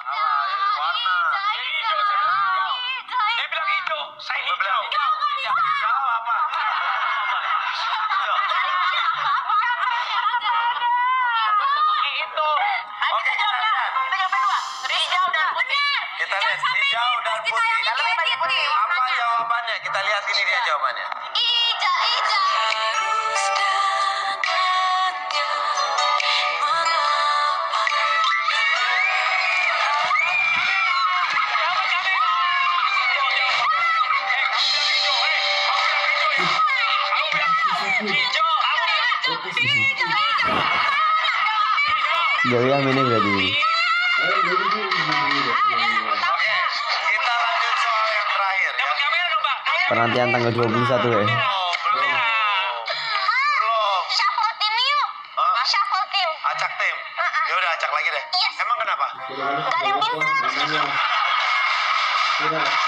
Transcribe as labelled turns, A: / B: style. A: Tama, eh, warna.
B: Hijau saya. Dia bilang hijau, saya
A: Gua bilang
B: hijau.
A: hijau.
B: Hijau apa? Hijau. Pakai itu.
A: Oke, kita lihat. Kita lihat hijau dan putih. Apa jawabannya? Kita lihat ini dia jawabannya.
B: Jangan, jangan. Hijau, hijau. Eh, kamu bilang hijau, eh. Kamu bilang hijau. Kamu bilang hijau. Aku bilang
C: Goyang ini iya, berarti.
A: Oke, kita lanjut soal yang terakhir.
B: Dapat
A: ya.
B: kamera dong, Pak.
C: Penantian tanggal 21 ya.
A: Belum, belum. Belum. Hah? Acak tim. Ya udah acak lagi deh. Emang kenapa?
D: Gak ada yang pintar.